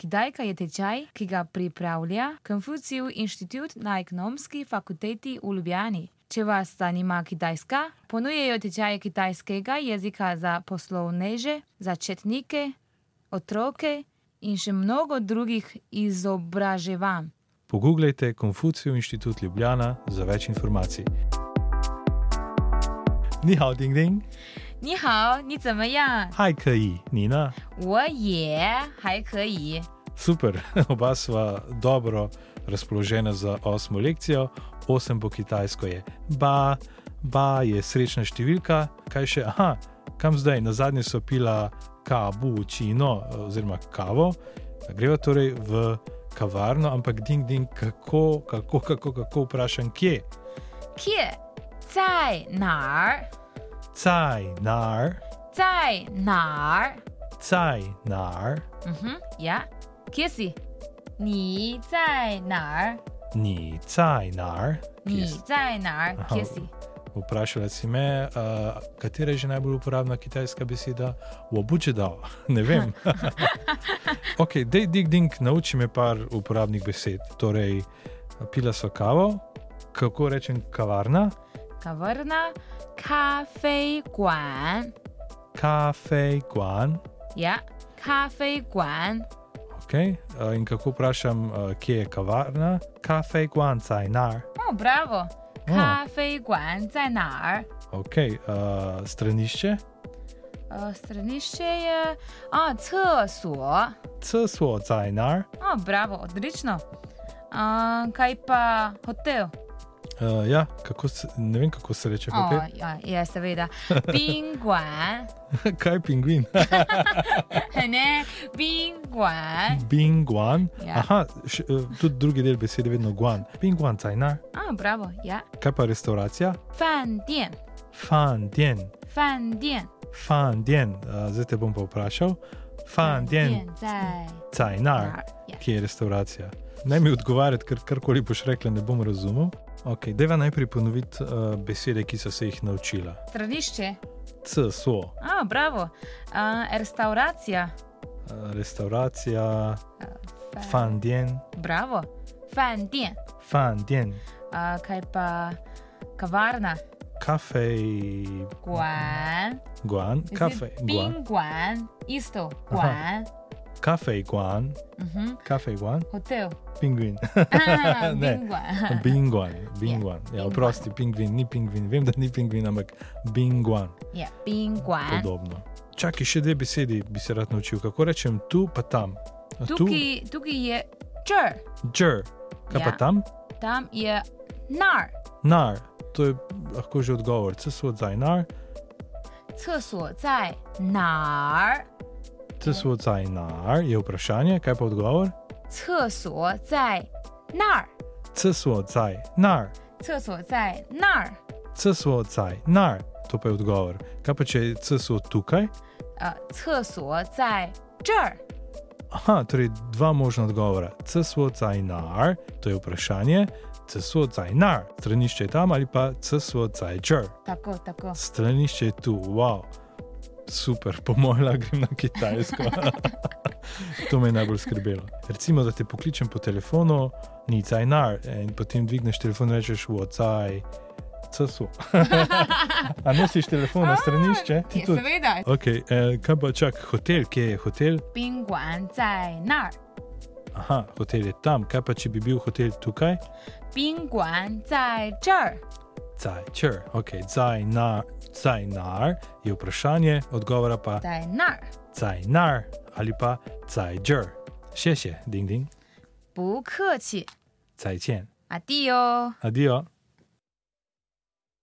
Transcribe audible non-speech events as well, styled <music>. Kitajka je tečaj, ki ga pripravlja Konfucijev inštitut na ekonomski fakulteti v Ljubljani. Če vas zanima Kitajska, ponujejo tečaje kitajskega jezika za poslovneže, začetnike, otroke in še mnogo drugih izobraževanj. Poglejte Konfucijev inštitut Ljubljana za več informacij. Ni hao, ding ding, 你好，你怎么样？ haj kaj, Nina, 我也还可以。 super, <laughs> oba sva dobro razpoložena za osmo lekcijo, osem po kitajsko je ba, ba je srečna številka, kaj še, aha, kam zdaj, na zadnje so pila kabu, čino oziroma kavo, greva torej v kavarno, ampak ding ding, kako, kako, kako, kako vprašam, kje, Here 在哪儿？ caj, nar, 在哪儿？ caj, nar, 嗯哼呀，Kissy，你在哪儿？ ni caj, nar, 你在哪儿然后？Kissy， Vprašala si me, uh, katera je že najbolj uporabna kitajska beseda, obučedal, <laughs> ne vem. ok, dej dig ding, nauči me par uporabnih besed. Torej, pila so kavo, kako rečem kavarna, 卡瓦纳咖啡馆 kafe, guan, 呀，咖啡馆 ok. Uh, in kako vprašam, uh, kje je kavarna, kafe, guan, cajnar. 哦，bravo，咖啡馆在哪儿？ Ok, uh, stranišče, 呃，stranišče je 啊，厕所。哦 c so cajnar, O, bravo, odlično. A, kaj pa hotel? uh, ja, kako se, ne vem, kako se reče O, hotel. ja, je, seveda. <laughs> Bingwan, <laughs> Kaj pingvin? ne, bingwan. Binguan. Ja. Aha, še, eh, tudi drugi del besede je vedno guan. Binguan cajnar. O, 啊 bravo, ja. Kaj pa restauracija? Fan dien, Fan dien, fan dien. fan dien. Uh, zdaj te bom pa vprašal. Fan dien zdaj. cajnar, Ja. ki je restauracija. Naj mi odgovarjati, ker karkoli boš rekla, ne bom razumel. Ok, deva najprej ponoviti uh, besede, ki so se jih naučila. Stranišče, C so, uh, o, 啊 bravo. 啊 A, restauracija, eh, restauracija, Fan- fan dien, 啊 bravo. 啊 Fan dien, fan dien, a, kaj pa kavarna, kafe, guan. guan, kafe, guan, 宾馆，isto, Aha. 馆。 kafe, guan, <laughs> 嗯哼 kafe, guan. ，hotel。 Pingvin. <laughs> Ah, Ne. Bingwan. Binguan, binguan. Ja, Binguan. oprosti, pingvin, ni pingvin, vem, da ni pingvin, ampak binguan, Ja, Bingwan. podobno. Čakaj, še dve besedi bi se rad naučil. Kako rečem tu, pa tam. A Tu, Tukaj, tukaj je čr, džr, kaj pa Ja. tam? tam je nar, Nar, to je lahko že odgovor. C so odzaj nar, ceso zdaj nar, Ja. c so odzaj nar, je vprašanje, kaj pa odgovor? ceso zdaj nar, C so odzaj nar, ceso zdaj nar, c so odzaj nar, to pa je odgovor. Kaj pa če je c so tukaj? 呃 ceso zdaj čr, Aha, torej dva možna odgovora. CSO Cajnar, to je vprašanje, CSO Cajnar, stranišče je tam ali pa CSO Cajčar, tako, tako. 哦 stranišče je tu, wow, super, po mojem, lahko grem na Kitajsko. <laughs> to me je najbolj skrbelo. Recimo, da te pokličem po telefonu, ni Cajnar, in potem dvigneš telefon in rečeš, Wocaj, CSO. <laughs> A nosiš telefon na stranišče? Ti Je, tudi. seveda, Ok, eh, kaj pa čak, hotel, kje je hotel? Bingwan zdaj nar, Aha, hotel je tam, kaj pa če bi bil hotel tukaj? Bingwan zdaj čr, Zajčer, ok, zajnar, zajnar je vprašanje, odgovora pa zdaj nar. zajnar ali pa zajčer. Še še, ding ding, 不客气， zajčen, 阿弟哟。哦 adijo.